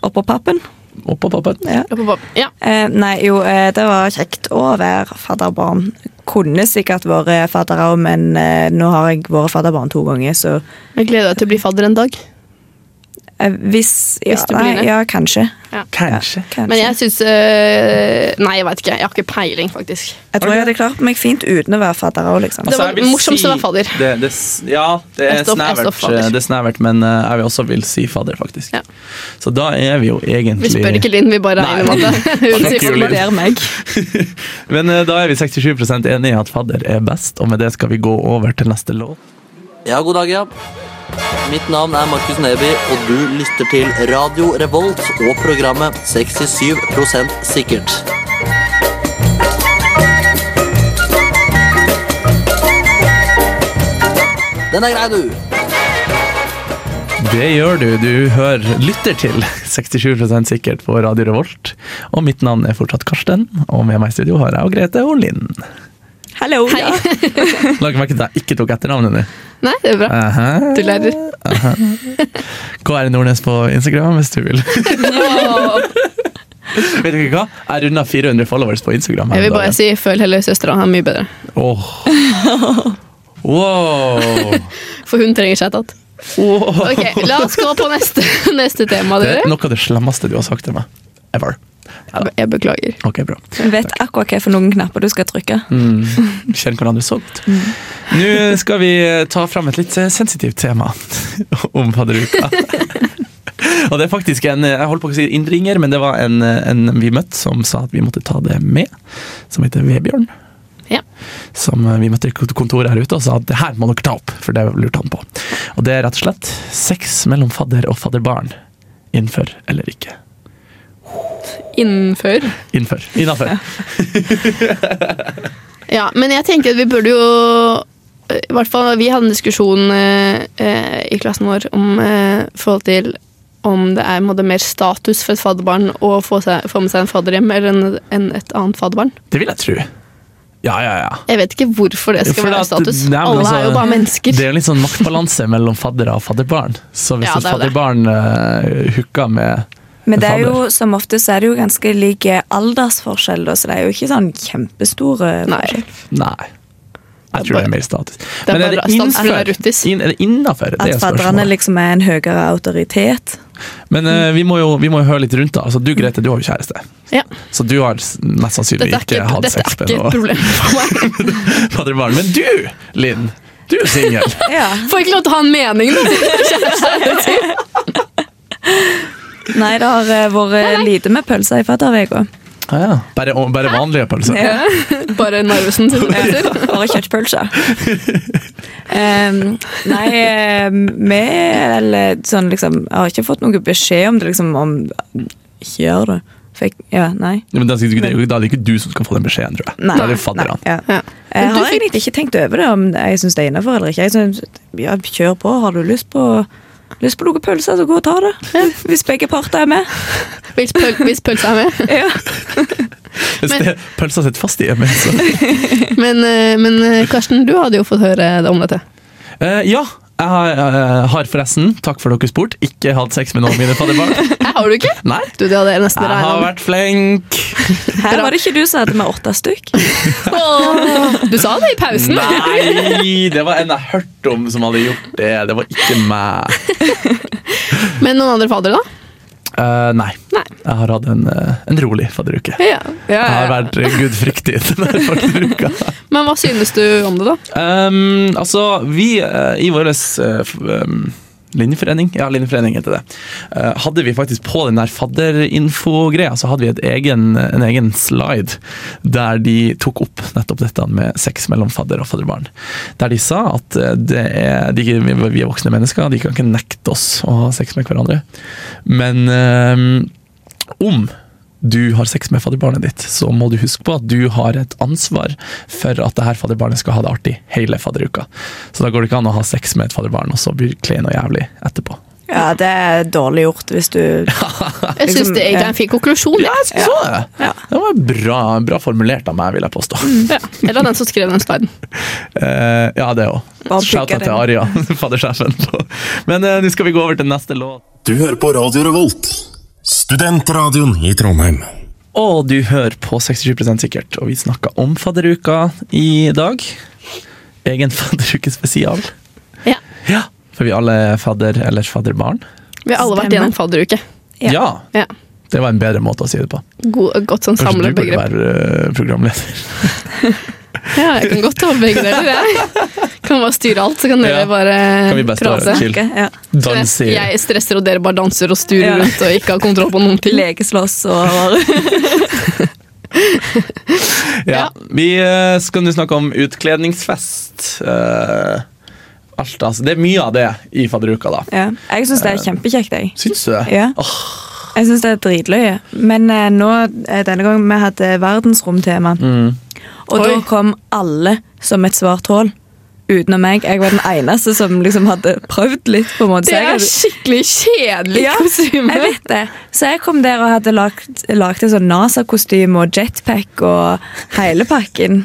Speaker 4: oppå pappen.
Speaker 3: Opp og opp.
Speaker 4: Ja.
Speaker 5: Opp og opp. Ja.
Speaker 4: Eh, nei, jo, eh, det var kjekt å være fadderbarn. Kunne sikkert vært fadder òg, men eh, nå har jeg vært fadderbarn to ganger, så
Speaker 5: Jeg gleder deg til å bli fadder en dag.
Speaker 4: eh, hvis ja,
Speaker 5: Hvis du blir
Speaker 4: nei,
Speaker 5: det.
Speaker 4: Ja, kanskje.
Speaker 3: Kanskje.
Speaker 4: kanskje.
Speaker 5: Men jeg syns øh, Nei, jeg veit ikke. Jeg har ikke peiling, faktisk.
Speaker 4: Jeg tror jeg hadde klart meg fint uten å være fadder òg, liksom.
Speaker 5: Det
Speaker 3: Altså,
Speaker 5: var
Speaker 3: jeg vil
Speaker 5: morsomst å være fadder.
Speaker 3: Det, det, s- ja, det er,
Speaker 5: Jeg står- jeg står
Speaker 3: snevert,
Speaker 5: fadder.
Speaker 3: det er snevert, men eh, jeg vil også vil si fadder, faktisk.
Speaker 5: Ja.
Speaker 3: Så da er vi jo egentlig
Speaker 5: Vi spør ikke Linn, vi bare
Speaker 3: Nei.
Speaker 5: regner med at det-
Speaker 3: Fuck
Speaker 5: hun sier
Speaker 3: you, Linn.
Speaker 5: fadder.
Speaker 4: Konkluder meg.
Speaker 3: Men eh, da er vi 67 enige i at fadder er best, og med det skal vi gå over til neste låt.
Speaker 7: Ja, god dag, ja. Mitt navn er Markus Neby, og du lytter til Radio Revolt og programmet 67 sikkert. Den er grei, du.
Speaker 3: Det gjør du. Du hører, lytter til 67 sikkert på Radio Revolt. Og mitt navn er fortsatt Karsten, og med meg i studio har jeg og Grete og Linn.
Speaker 4: Hallo.
Speaker 5: Hei.
Speaker 4: Ja.
Speaker 3: Lag merke til at jeg ikke tok etternavnet ditt.
Speaker 5: sånn, Nei, det er bra. Du lærer.
Speaker 3: KR Nordnes på Instagram hvis du vil. Vet dere hva? Jeg runda 400 followers på Instagram. her
Speaker 5: Jeg vil
Speaker 3: om
Speaker 5: bare
Speaker 3: dagen.
Speaker 5: si føl heller søstera. Hun er mye bedre.
Speaker 3: Åh. Wow.
Speaker 5: For hun trenger seg tatt.
Speaker 3: wow.
Speaker 5: Ok, La oss gå på neste, neste tema,
Speaker 3: Det er
Speaker 5: dere.
Speaker 3: noe av det slemmeste du har sagt til meg. Ever.
Speaker 5: Jeg beklager.
Speaker 3: Ok, bra.
Speaker 4: Du vet akkurat hva for noen knapper du skal trykke.
Speaker 3: Mm. Kjenn hverandre så godt.
Speaker 5: Mm.
Speaker 3: Nå skal vi ta fram et litt eh, sensitivt tema om fadderuka. Og det er faktisk en eh, jeg holdt på å si innringer, men det var en, eh, en vi møtte som sa at vi måtte ta det med, som heter Vebjørn.
Speaker 5: Ja.
Speaker 3: Som eh, vi møtte i kont- kontoret her ute og sa at det her må dere ta opp, for det lurte han på. Og det er rett og slett sex mellom fadder og fadderbarn. Innenfor eller ikke.
Speaker 5: Innenfor.
Speaker 3: Innenfor. Innafor.
Speaker 5: Ja, men jeg tenker at vi burde jo I hvert fall vi hadde en diskusjon eh, eh, i klassen vår om eh, forhold til om det er på en måte, mer status for et fadderbarn å få, seg, få med seg en fadder hjem eller en, enn et annet fadderbarn.
Speaker 3: Det vil jeg tro. Ja, ja, ja.
Speaker 5: Jeg vet ikke hvorfor det skal
Speaker 3: Fordi
Speaker 5: være
Speaker 3: at-
Speaker 5: status.
Speaker 3: nei, men
Speaker 5: Alle
Speaker 3: altså,
Speaker 5: er jo bare mennesker.
Speaker 3: Det er jo litt sånn maktbalanse mellom faddere og fadderbarn. Så hvis
Speaker 5: Ja,
Speaker 3: et
Speaker 5: det er jo det.
Speaker 3: fadderbarn uh, hooker med
Speaker 4: Men det er jo, som ofte så er det jo ganske lik aldersforskjell, da, så det er jo ikke sånn kjempestore
Speaker 5: Nei.
Speaker 4: forskjell.
Speaker 3: Nei. Jeg tror det er mer status.
Speaker 5: er
Speaker 3: Men
Speaker 5: bare status for
Speaker 3: innenfor-
Speaker 5: ruttis.
Speaker 3: inn- er det innafor? Det er
Speaker 4: At fadderne
Speaker 3: spørsmålet.
Speaker 4: liksom er en høyere autoritet.
Speaker 3: Men eh, vi, må jo, vi må jo høre litt rundt, da. Altså, du Grete, du har jo kjæreste.
Speaker 5: Ja.
Speaker 3: Så du har s- mest sannsynlig
Speaker 5: Dette
Speaker 3: ikke,
Speaker 5: er ikke,
Speaker 3: hatt
Speaker 5: dette er
Speaker 3: sex med
Speaker 5: ikke et
Speaker 3: noen
Speaker 5: problem for meg.
Speaker 3: fadderbarn. Men du, Linn, du er singel.
Speaker 4: Ja.
Speaker 5: Får ikke lov til å ha en mening, da.
Speaker 4: Nei, det har eh, vært lite med pølser i fadderveka.
Speaker 3: ah, ja. bare, bare vanlige pølser.
Speaker 4: Ja.
Speaker 5: Bare Narvesen sine pølser.
Speaker 4: Bare kjøttpølser. Em, nei, eh, vi eh, eller sånn liksom Jeg har ikke fått noen beskjed om det, liksom om Ikke gjør det. Fikk, ja, nei.
Speaker 3: Ja, Men da, er det ikke- det er jo- da er det ikke du som skal få den beskjeden, tror jeg.
Speaker 4: Nei,
Speaker 3: da er
Speaker 4: nei,
Speaker 3: det fadderne.
Speaker 4: ja.
Speaker 5: Ja.
Speaker 4: Jeg
Speaker 5: Du
Speaker 4: har
Speaker 5: fikk-
Speaker 4: egentlig ikke tenkt over det, om jeg syns det er innafor eller ikke. Jeg synes, ja, Kjør på. Har du lyst på, lyst på noe pølse, så gå og ta det. Hvis begge parter er med.
Speaker 5: Hvis, pøl, hvis pølsa er med.
Speaker 4: Ja.
Speaker 3: Hvis
Speaker 5: Men-
Speaker 3: det- Pølsa sitter fast i hjemmet. Så.
Speaker 5: Men, eh, men eh, Karsten, du hadde jo fått høre det om dette.
Speaker 3: Eh, ja, jeg har, eh, har forresten, takk for dere spurt, ikke hatt sex med noen av mine fadderbarn.
Speaker 5: Hæ, har du ikke?
Speaker 3: Nei,
Speaker 5: Du, det hadde jeg nesten
Speaker 3: jeg har
Speaker 5: regna
Speaker 3: vært flink.
Speaker 4: Her var det ikke du som hadde med åtte stykk.
Speaker 5: med. Du sa det i pausen.
Speaker 3: Nei, det var en jeg hørte om som hadde gjort det. Det var ikke meg.
Speaker 5: Men noen andre faddere, da?
Speaker 3: Eh, nei.
Speaker 5: Nei.
Speaker 3: Jeg har hatt en, eh, en rolig fadderuke.
Speaker 5: Ja.
Speaker 3: Jeg har vært eh, gudfryktig denne fadderuka.
Speaker 5: Men hva synes du om det, da?
Speaker 3: Um, altså, vi eh, i vår um, linjeforening, ja, linjeforening heter det, eh, hadde vi faktisk på den der fadderinfo-greia, så hadde vi et egen, en egen slide der de tok opp nettopp dette med sex mellom fadder og fadderbarn. Der de sa at eh, det er, de, vi er voksne mennesker, de kan ikke nekte oss å ha sex med hverandre. Men ehm, om du har sex med fadderbarnet ditt, så må du huske på at du har et ansvar for at det her fadderbarnet skal ha det artig hele fadderuka. Så da går det ikke an å ha sex med et fadderbarn og så blir klein og jævlig etterpå.
Speaker 4: Ja, det er dårlig gjort hvis du
Speaker 5: Jeg synes det egentlig er en fin konklusjon.
Speaker 3: liksom, Ja, jeg synes også det!
Speaker 4: Ja.
Speaker 3: Det var bra, bra formulert av meg, vil jeg påstå.
Speaker 5: Ja. Eller den som skrev den sliden.
Speaker 3: Eh, ja, det òg.
Speaker 4: Bare
Speaker 3: Shouta
Speaker 4: bygge
Speaker 3: til Aria, faddersjefen. på- Men eh, nå skal vi gå over til neste låt.
Speaker 6: Du hører på Radio Revolt, studentradioen i Trondheim.
Speaker 3: Og du hører på 67 sikkert, og vi snakka om fadderuka i dag. Egen fadderukespesial.
Speaker 5: Ja.
Speaker 3: Ja, for vi alle er fadder eller fadderbarn.
Speaker 5: Vi har alle vært
Speaker 4: Stemmer.
Speaker 5: gjennom fadderuke.
Speaker 3: Ja.
Speaker 4: Ja.
Speaker 5: Ja.
Speaker 3: Det var en bedre måte å si det på.
Speaker 5: God, godt sånn
Speaker 3: Kanskje du burde
Speaker 5: samlebegrep.
Speaker 3: være eh, programleder.
Speaker 5: Ja, jeg kan godt ta begge deler, jeg. Kan bare styre alt, så kan dere
Speaker 3: Ja.
Speaker 5: bare
Speaker 3: Kan vi bare stå
Speaker 5: prate.
Speaker 3: her? Chill.
Speaker 4: snakker. Ja.
Speaker 3: Danser.
Speaker 5: Jeg stresser, og dere bare danser og sturer
Speaker 4: Ja.
Speaker 5: rundt og ikke har kontroll på noen ting.
Speaker 4: Lekeslåss og
Speaker 3: Ja. Vi eh, skal nå snakke om utkledningsfest. Eh, alt, altså. Det er mye av det i fadderuka, da.
Speaker 4: ja. Jeg syns det er kjempekjekt, jeg.
Speaker 3: Syns du det?
Speaker 4: Ja. Jeg syns det er dritløye. Men eh, nå, eh, denne gangen vi hadde verdensromtema, og da
Speaker 5: Oi.
Speaker 4: kom alle som et svart hull. Utenom meg. Jeg var den eneste som liksom hadde prøvd litt. på en måte.
Speaker 5: Det
Speaker 4: Så jeg
Speaker 5: er
Speaker 4: hadde-
Speaker 5: skikkelig kjedelig
Speaker 4: Ja,
Speaker 5: kostyme.
Speaker 4: Jeg vet det. Så jeg kom der og hadde lagt, lagt et sånn NASA-kostyme og jetpack og hele pakken.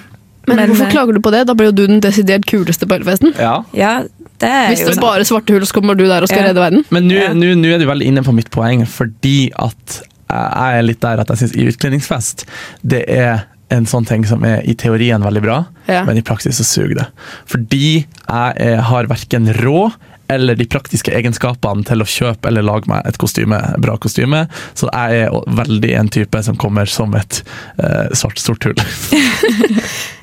Speaker 5: Men, hvorfor
Speaker 4: eh,
Speaker 5: klager du på det? Da blir jo du den desidert kuleste på Elfesten.
Speaker 3: ja.
Speaker 4: Ja, det er
Speaker 5: Hvis
Speaker 4: jo sånn-
Speaker 5: det er bare svarte hull, så kommer du der og skal
Speaker 4: Ja.
Speaker 5: redde verden.
Speaker 3: Men nå
Speaker 4: Ja.
Speaker 3: nå- nå er du veldig inne på mitt poeng, fordi at eh, jeg er litt der at jeg syns i utkledningsfest, det er en sånn ting som er i teorien veldig bra,
Speaker 5: Ja.
Speaker 3: men i praksis så suger det. Fordi jeg eh, har verken råd eller de praktiske egenskapene til å kjøpe eller lage meg et kostyme, bra kostyme, så jeg er veldig en type som kommer som et eh, svart stort hull.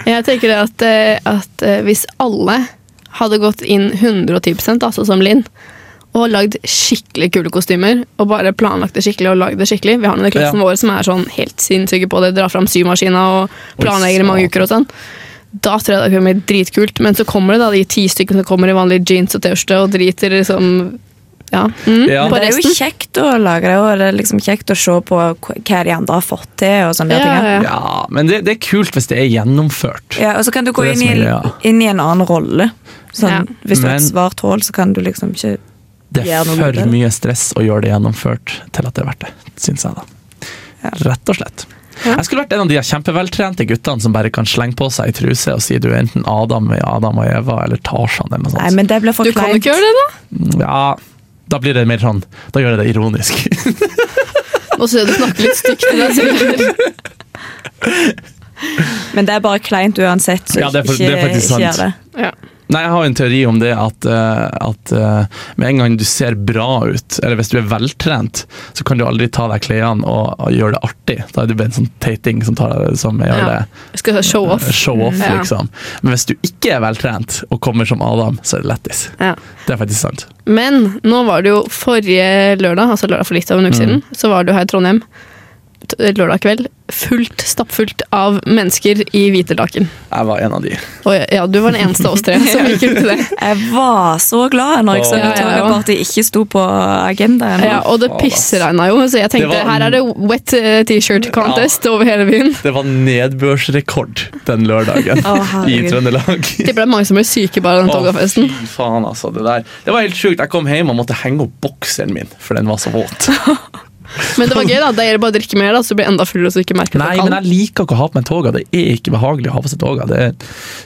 Speaker 5: Jeg tenker det at, eh, at eh, hvis alle hadde gått inn 110 altså som Linn, og lagd skikkelig kule kostymer, og bare planlagt det skikkelig og lagd det skikkelig Vi har noen i klassen
Speaker 3: Ja.
Speaker 5: vår som er sånn helt sinnssyke på det, drar fram symaskina og planlegger i mange
Speaker 3: satan.
Speaker 5: uker og sånn. Da tror jeg det kunne blitt dritkult, men så kommer det da de ti stykkene som kommer i vanlige jeans og T-skjorte og driter liksom Ja. Mm,
Speaker 3: Ja.
Speaker 5: På
Speaker 4: Men det er jo
Speaker 5: resten.
Speaker 4: kjekt å lage det, og det er liksom kjekt å se på hva hva de andre har fått til. og sånne
Speaker 5: Ja,
Speaker 4: der ting.
Speaker 5: ja, ja.
Speaker 3: Ja, men det, det er kult hvis det er gjennomført.
Speaker 4: Ja, og så kan du gå
Speaker 3: Det er
Speaker 4: inn
Speaker 3: det
Speaker 4: i,
Speaker 3: som er greia.
Speaker 4: inn i en annen rolle. Sånn,
Speaker 5: Ja.
Speaker 4: Hvis du har et
Speaker 3: Men-
Speaker 4: svart hull, så kan du liksom ikke
Speaker 3: Det
Speaker 4: Gjør
Speaker 3: er
Speaker 4: noe
Speaker 3: for
Speaker 4: med det.
Speaker 3: mye stress å gjøre det gjennomført til at det er verdt det, syns jeg da. Rett og slett. Jeg skulle vært en av de kjempeveltrente guttene som bare kan slenge på seg ei truse og si du er enten Adam i Adam og Eva eller Tarzan eller noe
Speaker 4: Nei,
Speaker 3: sånt.
Speaker 4: men det blir for
Speaker 5: Du kan jo
Speaker 4: kleint.
Speaker 5: ikke gjøre det, da!
Speaker 3: Ja, da blir det mer sånn Da gjør jeg det ironisk.
Speaker 5: Nå ser jeg du snakker litt stygt til deg selv.
Speaker 4: Men det er bare kleint uansett. Så
Speaker 3: Ja, det er for-
Speaker 4: ikke,
Speaker 3: det er faktisk
Speaker 4: ikke gjør det.
Speaker 3: sant.
Speaker 5: Ja.
Speaker 3: Nei, jeg har jo en teori om det at, eh, at eh, med en gang du ser bra ut, eller hvis du er veltrent, så kan du aldri ta av deg klærne og, og gjøre det artig. Da er du bare en sånn teiting som, tar, deg- som gjør
Speaker 5: Ja.
Speaker 3: det
Speaker 5: Skal jeg show off.
Speaker 3: Show-off,
Speaker 5: Ja.
Speaker 3: liksom. Men hvis du ikke er veltrent og kommer som Adam, så er det lettis.
Speaker 5: Ja.
Speaker 3: Det er faktisk sant. Mm.
Speaker 5: Men nå var det jo forrige lørdag, altså lørdag for litt over en uke siden, så var du her i Trondheim. t- lørdag kveld fullt stappfullt av mennesker i hvite laken.
Speaker 3: Jeg var en av de.
Speaker 5: Og ja, du var den eneste av oss tre som gikk ut til det.
Speaker 4: Jeg var så glad når jeg så
Speaker 5: Ja,
Speaker 4: at
Speaker 5: ja, ja.
Speaker 4: togaparty ikke sto på agendaen.
Speaker 5: Ja, og det
Speaker 3: faen, ass.
Speaker 5: pissregna jo, så jeg
Speaker 3: Det
Speaker 5: tenkte
Speaker 3: var-
Speaker 5: her er det wet eh, t-shirt contest over hele byen.
Speaker 3: Det var nedbørsrekord den lørdagen
Speaker 4: Å, herregud.
Speaker 3: i Trøndelag.
Speaker 5: Tipper det er mange som ble syke bare av den togafesten.
Speaker 3: Å, fy faen, altså. Det der Det var helt sjukt. Jeg kom hjem og måtte henge opp bokseren min, for den var så våt.
Speaker 5: Men det var gøy, da. Da gjelder det bare å drikke mer, da, så du blir enda fullere så du ikke merker at
Speaker 3: Nei,
Speaker 5: du er
Speaker 3: men
Speaker 5: kald.
Speaker 3: jeg liker ikke å ha på meg toga. Det er ikke behagelig å ha på seg toga. Det er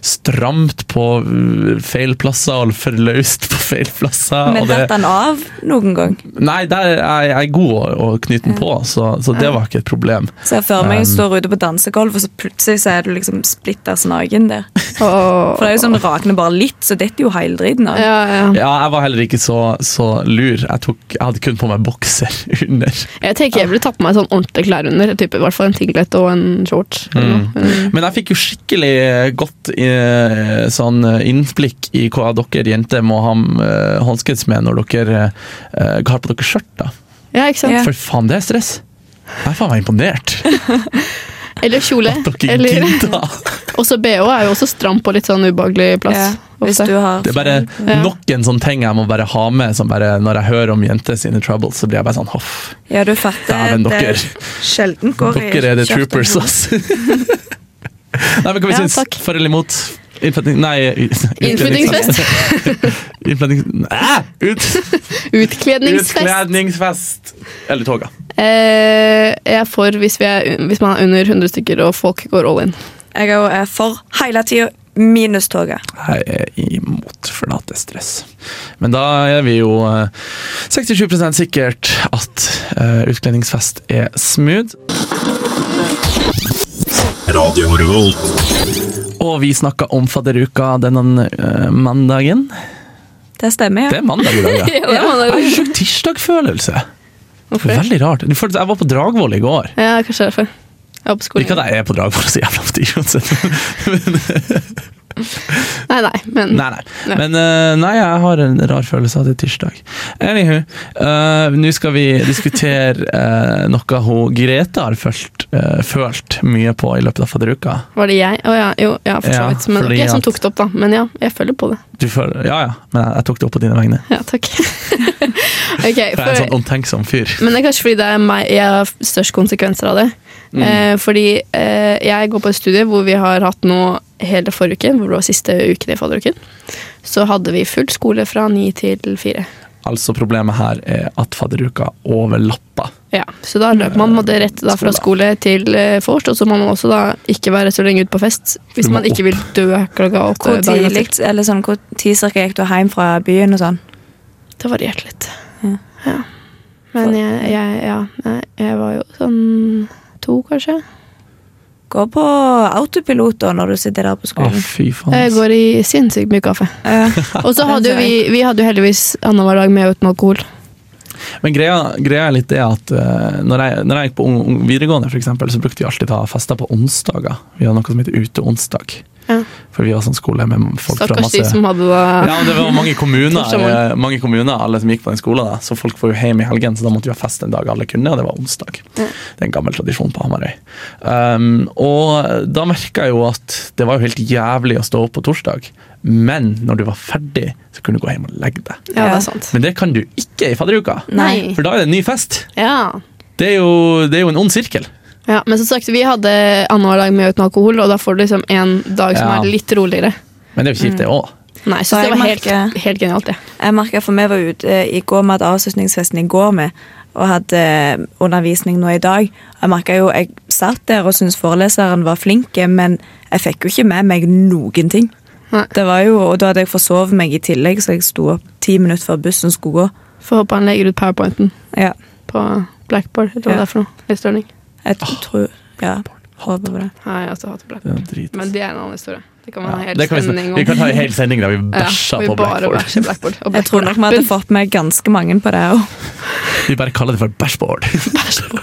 Speaker 3: stramt på uh, feil plasser og for løst på feil plasser.
Speaker 4: Men
Speaker 3: og det,
Speaker 4: datt han av noen gang?
Speaker 3: nei, der er jeg er god å, å knyte den på, så, så det var ikke et problem.
Speaker 4: Ser jeg for meg
Speaker 3: Um.
Speaker 4: jeg står ute på dansegulv, og så plutselig så er du liksom splitters naken der.
Speaker 5: Åh.
Speaker 4: For det er jo sånn rakner bare litt, så detter jo hele driten av.
Speaker 5: ja, ja.
Speaker 3: Ja, jeg var heller ikke så, så lur. Jeg, tok, jeg hadde kun på meg bokser under.
Speaker 5: Jeg tenker
Speaker 4: Ah.
Speaker 5: jeg ville tatt på meg sånn ordentlige klær under. Type, I hvert fall en tinglet og en shorts. Eller
Speaker 3: Mm.
Speaker 5: noe.
Speaker 3: Men jeg fikk jo skikkelig godt eh, sånn eh, innblikk i hva dere jenter må ha eh, håndskrift med når dere eh, har på dere skjørt. da.
Speaker 5: Ja, ikke sant?
Speaker 4: Ja.
Speaker 3: For faen, det er stress! Jeg er faen meg imponert.
Speaker 5: Eller kjole.
Speaker 3: Dere
Speaker 5: Eller,
Speaker 3: gidda!
Speaker 5: også BH er jo også stram på litt sånn ubehagelig plass.
Speaker 4: Ja, hvis
Speaker 5: ofte.
Speaker 4: du har
Speaker 3: Det er bare
Speaker 5: Ja.
Speaker 3: nok en sånn ting jeg må bare ha med som bare, når jeg hører om jenter sine troubles. så blir jeg bare sånn, hoff,
Speaker 4: Ja, du fatter.
Speaker 3: Dæven,
Speaker 4: det
Speaker 3: dere.
Speaker 4: sjelden går i
Speaker 3: Dere er the
Speaker 4: kjørt og
Speaker 3: troopers, altså.
Speaker 4: blod.
Speaker 3: ass! Nei, men Hva vi
Speaker 5: Ja,
Speaker 3: syns
Speaker 5: takk.
Speaker 3: For eller imot? Innflytting... Nei,
Speaker 5: Innflyttingsfest.
Speaker 3: Innflytting... Æ! Ut-
Speaker 5: Utkledningsfest.
Speaker 3: Utkledningsfest! Eller toga.
Speaker 5: Eh, jeg er for hvis, vi er, hvis man er under 100 stykker og folk går all in.
Speaker 4: Jeg er jo eh, for hele tida minus toget.
Speaker 3: Jeg er imot, for at det er stress. Men da er vi jo eh, 67 sikkert at eh, utkledningsfest er smooth.
Speaker 6: Radio Revolt.
Speaker 3: Og vi snakka om fadderuka denne eh, mandagen.
Speaker 4: Det stemmer,
Speaker 3: Det
Speaker 4: ja.
Speaker 3: er mandag i dag, ja.
Speaker 5: Ja, det var
Speaker 3: Jeg har
Speaker 5: det.
Speaker 3: en sjuk tirsdagfølelse.
Speaker 5: Hvorfor?
Speaker 3: Veldig rart. Det føles- Jeg var på Dragvoll i går.
Speaker 5: Ja, kanskje derfor. Jeg var på
Speaker 3: Ikke
Speaker 5: skolen.
Speaker 3: at jeg er på Dragvoll så jævla ofte, uansett.
Speaker 5: Nei, nei, men
Speaker 3: Nei, nei.
Speaker 5: Nei.
Speaker 3: Men eh, nei, jeg har en rar følelse av at det er tirsdag. Anywho, eh, nå skal vi diskutere eh, noe hun Grete har følt, eh, følt mye på i løpet av fadderuka.
Speaker 5: var det jeg? Å ja, jo, ja, for så
Speaker 3: Ja,
Speaker 5: vidt. Men
Speaker 3: fordi
Speaker 5: ikke jeg som
Speaker 3: at-
Speaker 5: tok det opp, da. Men ja, jeg følger på det.
Speaker 3: Du føler, ja ja, men jeg tok det opp på dine vegne.
Speaker 5: Ja, takk.
Speaker 3: For
Speaker 5: Ok,
Speaker 3: jeg er en
Speaker 5: for,
Speaker 3: sånn omtenksom fyr.
Speaker 5: men det er kanskje fordi det er meg jeg har størst konsekvenser av det. Eh, fordi eh, jeg går på et studie hvor vi har hatt nå hele forrige uke, hvor det var siste uken i fadderuken. Så hadde vi full skole fra ni til fire.
Speaker 3: Altså Problemet her er at fadderuka overlapper.
Speaker 5: Ja, så da løp man måtte rett da fra skole til eh, vors, og så må man også da ikke være så lenge ute på fest
Speaker 3: Du
Speaker 5: hvis
Speaker 3: må
Speaker 5: man ikke vil dø klokka åtte.
Speaker 4: Hvor
Speaker 5: dagen etter.
Speaker 4: tidlig eller sånn, hvor tid cirka gikk du hjem fra byen og sånn?
Speaker 5: Det varierte litt. Ja. Men jeg, jeg, ja, nei, jeg var jo sånn to, kanskje.
Speaker 4: Gå på autopilot da når du sitter der på
Speaker 3: Å,
Speaker 4: skolen.
Speaker 3: fy faen.
Speaker 5: Jeg
Speaker 3: ass.
Speaker 5: Eh, går i sinnssykt mye kaffe.
Speaker 4: Ja.
Speaker 5: Og så hadde jo
Speaker 4: Den ser
Speaker 5: vi, vi hadde jo heldigvis annenhver dag med uten alkohol.
Speaker 3: Men greia, greia er litt det at eh, når, jeg, når jeg gikk på ung, ung, videregående, for eksempel, så brukte vi alltid å ha fester på onsdager. Vi hadde noe som heter uteonsdag.
Speaker 5: Ja.
Speaker 3: For vi var sånn skole med folk fra
Speaker 5: Stakkars
Speaker 3: masse
Speaker 5: de som hadde da
Speaker 3: Ja, men det var mange kommuner,
Speaker 5: Torsdag
Speaker 3: eh, mange kommuner alle som gikk på den skolen, da. så folk var jo hjem i helgen, så da måtte vi ha fest en dag alle kunne, og det var onsdag. Det er en gammel tradisjon på Hamarøy. Um, og da merka jeg jo at det var jo helt jævlig å stå opp på torsdag, men når du var ferdig, så kunne du gå hjem og legge deg.
Speaker 5: Ja, det er sant.
Speaker 3: Men det kan du ikke i fadderuka,
Speaker 5: Nei.
Speaker 3: for da er det en ny fest.
Speaker 5: Ja.
Speaker 3: Det er jo, det er jo en ond sirkel.
Speaker 5: ja. Men som sagt, vi hadde annenhver dag med uten alkohol, og da får du liksom en dag som
Speaker 3: Ja.
Speaker 5: er litt roligere.
Speaker 3: Men det er jo kjipt, det òg.
Speaker 5: Nei, jeg
Speaker 4: Da
Speaker 5: synes det
Speaker 4: jeg
Speaker 5: var helt,
Speaker 4: merker-
Speaker 5: helt genialt, det.
Speaker 4: Jeg merker for meg var ute eh, i går med avslutningsfesten i går med, og hadde eh, undervisning nå i dag. Jeg merket jo, jeg satt der og syntes foreleseren var flink, men jeg fikk jo ikke med meg noen ting.
Speaker 5: Nei.
Speaker 4: Det var jo, og da hadde jeg forsovet meg i tillegg, så jeg sto opp ti minutter før bussen skulle gå.
Speaker 5: Får håpe han legger ut powerpointen
Speaker 4: Ja,
Speaker 5: på blackboard. Eller
Speaker 4: Ja.
Speaker 5: hva det er for noe. Lestørning.
Speaker 4: jeg tror, ja, håper på det.
Speaker 5: Nei, jeg har også hatt blackboard.
Speaker 3: Det er drit. altså.
Speaker 5: Men det er en annen historie. Det kan man ha
Speaker 3: Ja,
Speaker 5: helt
Speaker 3: det kan vi,
Speaker 5: stemning
Speaker 3: snakke-
Speaker 5: om.
Speaker 3: vi kan ta en hel sending der vi bæsja
Speaker 5: ja,
Speaker 3: på Blackboard.
Speaker 5: Bæsja blackboard og
Speaker 4: Jeg tror nok vi hadde fått med ganske mange på det også.
Speaker 3: Vi bare kaller det for bæsjboard.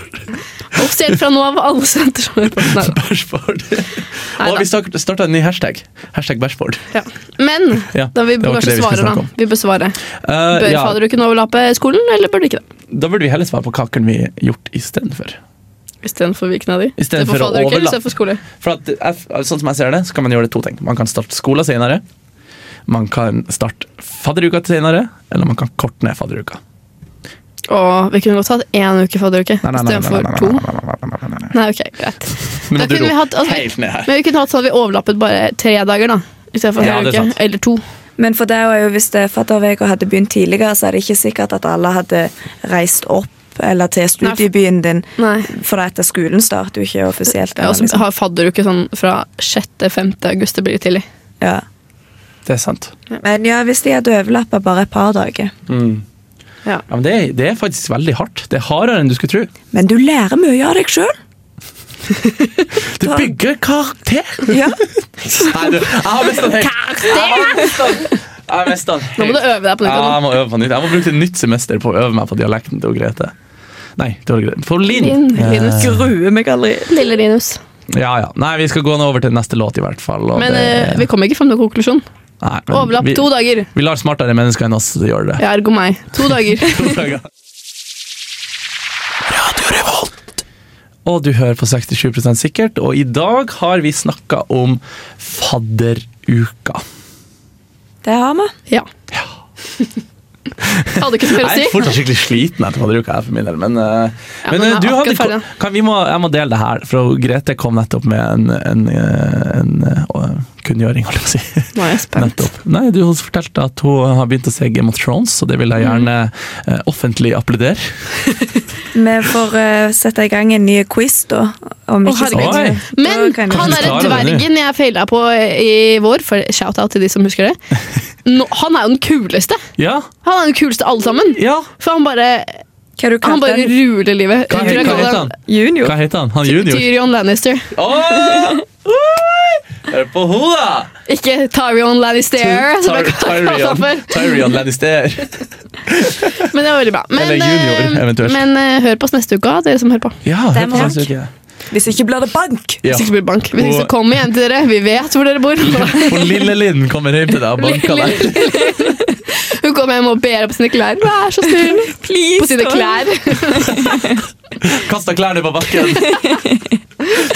Speaker 5: Og selv fra nå av alle senter som hører på. Nei, da.
Speaker 3: Bashboard.
Speaker 5: Nei
Speaker 3: Og
Speaker 5: da.
Speaker 3: vi starta en ny hashtag. Hashtag bashboard.
Speaker 5: Ja. Men
Speaker 3: Ja,
Speaker 5: da vi
Speaker 3: det
Speaker 5: bør
Speaker 3: var ikke det vi
Speaker 5: kanskje
Speaker 3: skulle
Speaker 5: svare,
Speaker 3: snakke
Speaker 5: da.
Speaker 3: om.
Speaker 5: Vi bør svare.
Speaker 3: Eh,
Speaker 5: Bør
Speaker 3: ja,
Speaker 5: faderuken overlappe skolen, eller bør det ikke det?
Speaker 3: da burde vi heller svare på hva kunne vi gjort istedenfor.
Speaker 5: istedenfor Vikna di.
Speaker 3: I stedet
Speaker 5: Istedenfor
Speaker 3: for å
Speaker 5: fadderuke
Speaker 3: overlappe.
Speaker 5: istedenfor skole.
Speaker 3: For at, jeg- sånn som jeg ser det, så kan man gjøre det to ting. Man kan starte skolen senere. Man kan starte fadderuka til senere, eller man kan korte ned fadderuka.
Speaker 5: Åh, vi kunne godt hatt én uke fadderuke
Speaker 3: Nei, nei, nei, nei, nei,
Speaker 5: istedenfor
Speaker 3: nei,
Speaker 5: to.
Speaker 3: nei, nei, nei, nei, nei, nei, nei.
Speaker 5: Nei, ok, greit.
Speaker 3: Nå
Speaker 5: Da
Speaker 3: må du
Speaker 5: kunne vi
Speaker 3: ro
Speaker 5: hatt- altså-
Speaker 3: helt ned her.
Speaker 5: Men vi kunne hatt sånn at vi overlappet bare tre dager, da. Istedenfor en
Speaker 3: Ja,
Speaker 5: hel
Speaker 3: det er
Speaker 5: uke.
Speaker 3: sant.
Speaker 5: Eller to.
Speaker 4: Men for det var jo, hvis det fatterveka hadde begynt tidligere, så er det ikke sikkert at alle hadde reist opp eller til studiebyen din.
Speaker 5: Nei.
Speaker 4: For at skolen starter jo ikke offisielt.
Speaker 5: Ja, og så
Speaker 4: liksom.
Speaker 5: har fadderuke sånn fra 6.-5. august. Det blir litt tidlig.
Speaker 4: ja.
Speaker 3: Det er sant.
Speaker 4: Men ja, hvis de hadde overlappa bare et par dager.
Speaker 3: Ja, men det, er- det er faktisk veldig hardt. Det er hardere enn du skulle tro.
Speaker 4: Men du lærer mye av deg sjøl.
Speaker 3: Det bygger karakter!
Speaker 4: Ja.
Speaker 3: Nei, du, jeg har mista den helt. Jeg har mistet den
Speaker 5: Nå må du
Speaker 3: helt.
Speaker 5: øve deg på
Speaker 3: Ja, jeg
Speaker 5: nytt.
Speaker 3: må øve på nytt. Jeg må bruke et nytt semester på å øve meg på dialekten til Grete. Nei, til Grete. For Linn.
Speaker 5: Linn. Linn
Speaker 3: Eh,
Speaker 4: Gruer meg aldri.
Speaker 5: da. Lille Rinus.
Speaker 3: Ja, ja. Nei, vi skal gå nå over til neste låt, i hvert fall. og
Speaker 5: Men
Speaker 3: det-
Speaker 5: eh, vi kommer ikke fram til konklusjon.
Speaker 3: Nei, men
Speaker 5: Overlapp
Speaker 3: vi,
Speaker 5: to dager.
Speaker 3: Vi lar smartere mennesker enn oss gjøre det.
Speaker 5: Ja, ergo meg. To dager.
Speaker 3: Og du hører på 67 sikkert, og i dag har vi snakka om fadderuka.
Speaker 4: Det har vi.
Speaker 5: Ja. Jeg hadde ikke så mye å
Speaker 3: Jeg er
Speaker 5: si.
Speaker 3: fortsatt skikkelig sliten etter fadderuka, jeg, for min del. Men, eh,
Speaker 5: Ja,
Speaker 3: men,
Speaker 5: men
Speaker 3: eh,
Speaker 5: jeg er
Speaker 3: du hadde,
Speaker 5: akkurat ferdig.
Speaker 3: kan, vi må, jeg må dele det her, for Grete kom nettopp med en, en, eh, en, eh, å, kunngjøring, holdt jeg på å si.
Speaker 5: Nå er jeg spent.
Speaker 3: Nettopp. Nei, du har fortalt at hun har begynt å se Game of Thrones, så det vil jeg gjerne eh, offentlig applaudere.
Speaker 4: Vi får eh, sette i gang en ny quiz, da. Om
Speaker 5: Å,
Speaker 4: ikke så
Speaker 5: herregud.
Speaker 4: lenge.
Speaker 3: Oi.
Speaker 4: Da
Speaker 5: Men
Speaker 4: kan jeg-
Speaker 5: han er
Speaker 3: klarer det,
Speaker 5: dvergen jeg feila på i vår, for shout-out til de som husker det. Nå, han er jo den kuleste.
Speaker 3: Ja,
Speaker 5: Han er den kuleste alle sammen.
Speaker 3: ja.
Speaker 5: For han bare
Speaker 4: Hva du
Speaker 5: Han
Speaker 4: kalte
Speaker 5: bare
Speaker 4: den?
Speaker 5: ruler livet.
Speaker 3: Hva, he- hva heter han?
Speaker 4: Junior.
Speaker 3: Hva heter han? Han junior?
Speaker 5: Tyrion Lannister.
Speaker 3: Åh! Oi! Hør på henne, da!
Speaker 5: Ikke Tyrion Lannister. som jeg kaller han for.
Speaker 3: Tyrion, Tyrion Lannister.
Speaker 5: Men det var veldig bra. Men,
Speaker 3: Eller junior,
Speaker 5: eh,
Speaker 3: eventuelt.
Speaker 5: men eh, hør på oss neste uke, dere som hører på.
Speaker 3: Ja, hør
Speaker 4: Den
Speaker 3: på
Speaker 4: takk.
Speaker 3: neste uke.
Speaker 4: Hvis ikke blir det bank!
Speaker 3: Ja.
Speaker 5: Hvis ikke blir det bank. Hvis ikke så
Speaker 3: Og-
Speaker 5: kommer vi hjem til dere. Vi vet hvor dere bor.
Speaker 3: Og lille Linn kommer hjem til deg og banker deg.
Speaker 5: Hun kommer hjem og ber opp sine klær. Vær så snill. På sine klær.
Speaker 3: Kaster klærne på bakken.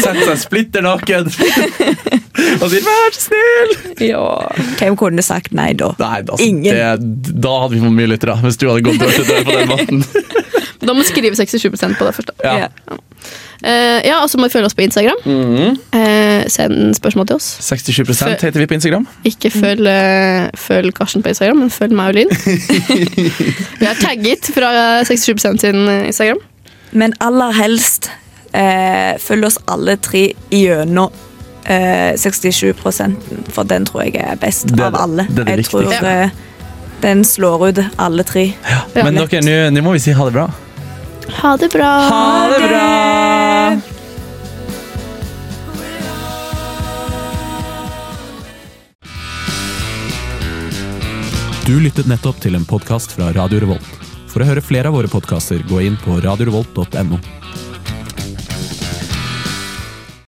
Speaker 3: Setter seg splitter naken. Og sier 'vær så snill'.
Speaker 4: Hvem kunne sagt nei da?
Speaker 3: Nei, altså,
Speaker 4: Ingen.
Speaker 3: Det, da hadde vi for mye lyttere, hvis du hadde gått dør til dør på den måten.
Speaker 5: Da må du skrive 67 på det først. da.
Speaker 3: Ja.
Speaker 4: Ja.
Speaker 5: Eh, ja, og så må du følge oss på Instagram.
Speaker 3: Mhm.
Speaker 5: Eh, send spørsmål til oss.
Speaker 3: 67 heter vi på Instagram.
Speaker 5: Ikke følg, eh, følg Karsten på Instagram, men følg meg og Linn. Vi har tagget fra 67 sin eh, Instagram.
Speaker 4: Men aller helst eh, følg oss alle tre gjennom eh, 67 for den tror jeg er best
Speaker 3: Det er
Speaker 4: av
Speaker 3: det-
Speaker 4: alle.
Speaker 3: det er det
Speaker 4: jeg
Speaker 3: viktigste.
Speaker 4: tror eh, den slår ut alle tre.
Speaker 5: Ja.
Speaker 3: Men dere, nå- nå må vi si ha det bra.
Speaker 5: Ha det bra!
Speaker 3: Ha det bra!
Speaker 8: Du lyttet nettopp til en podkast fra Radio Revolt. For å høre flere av våre podkaster, gå inn på radiorevolt.no.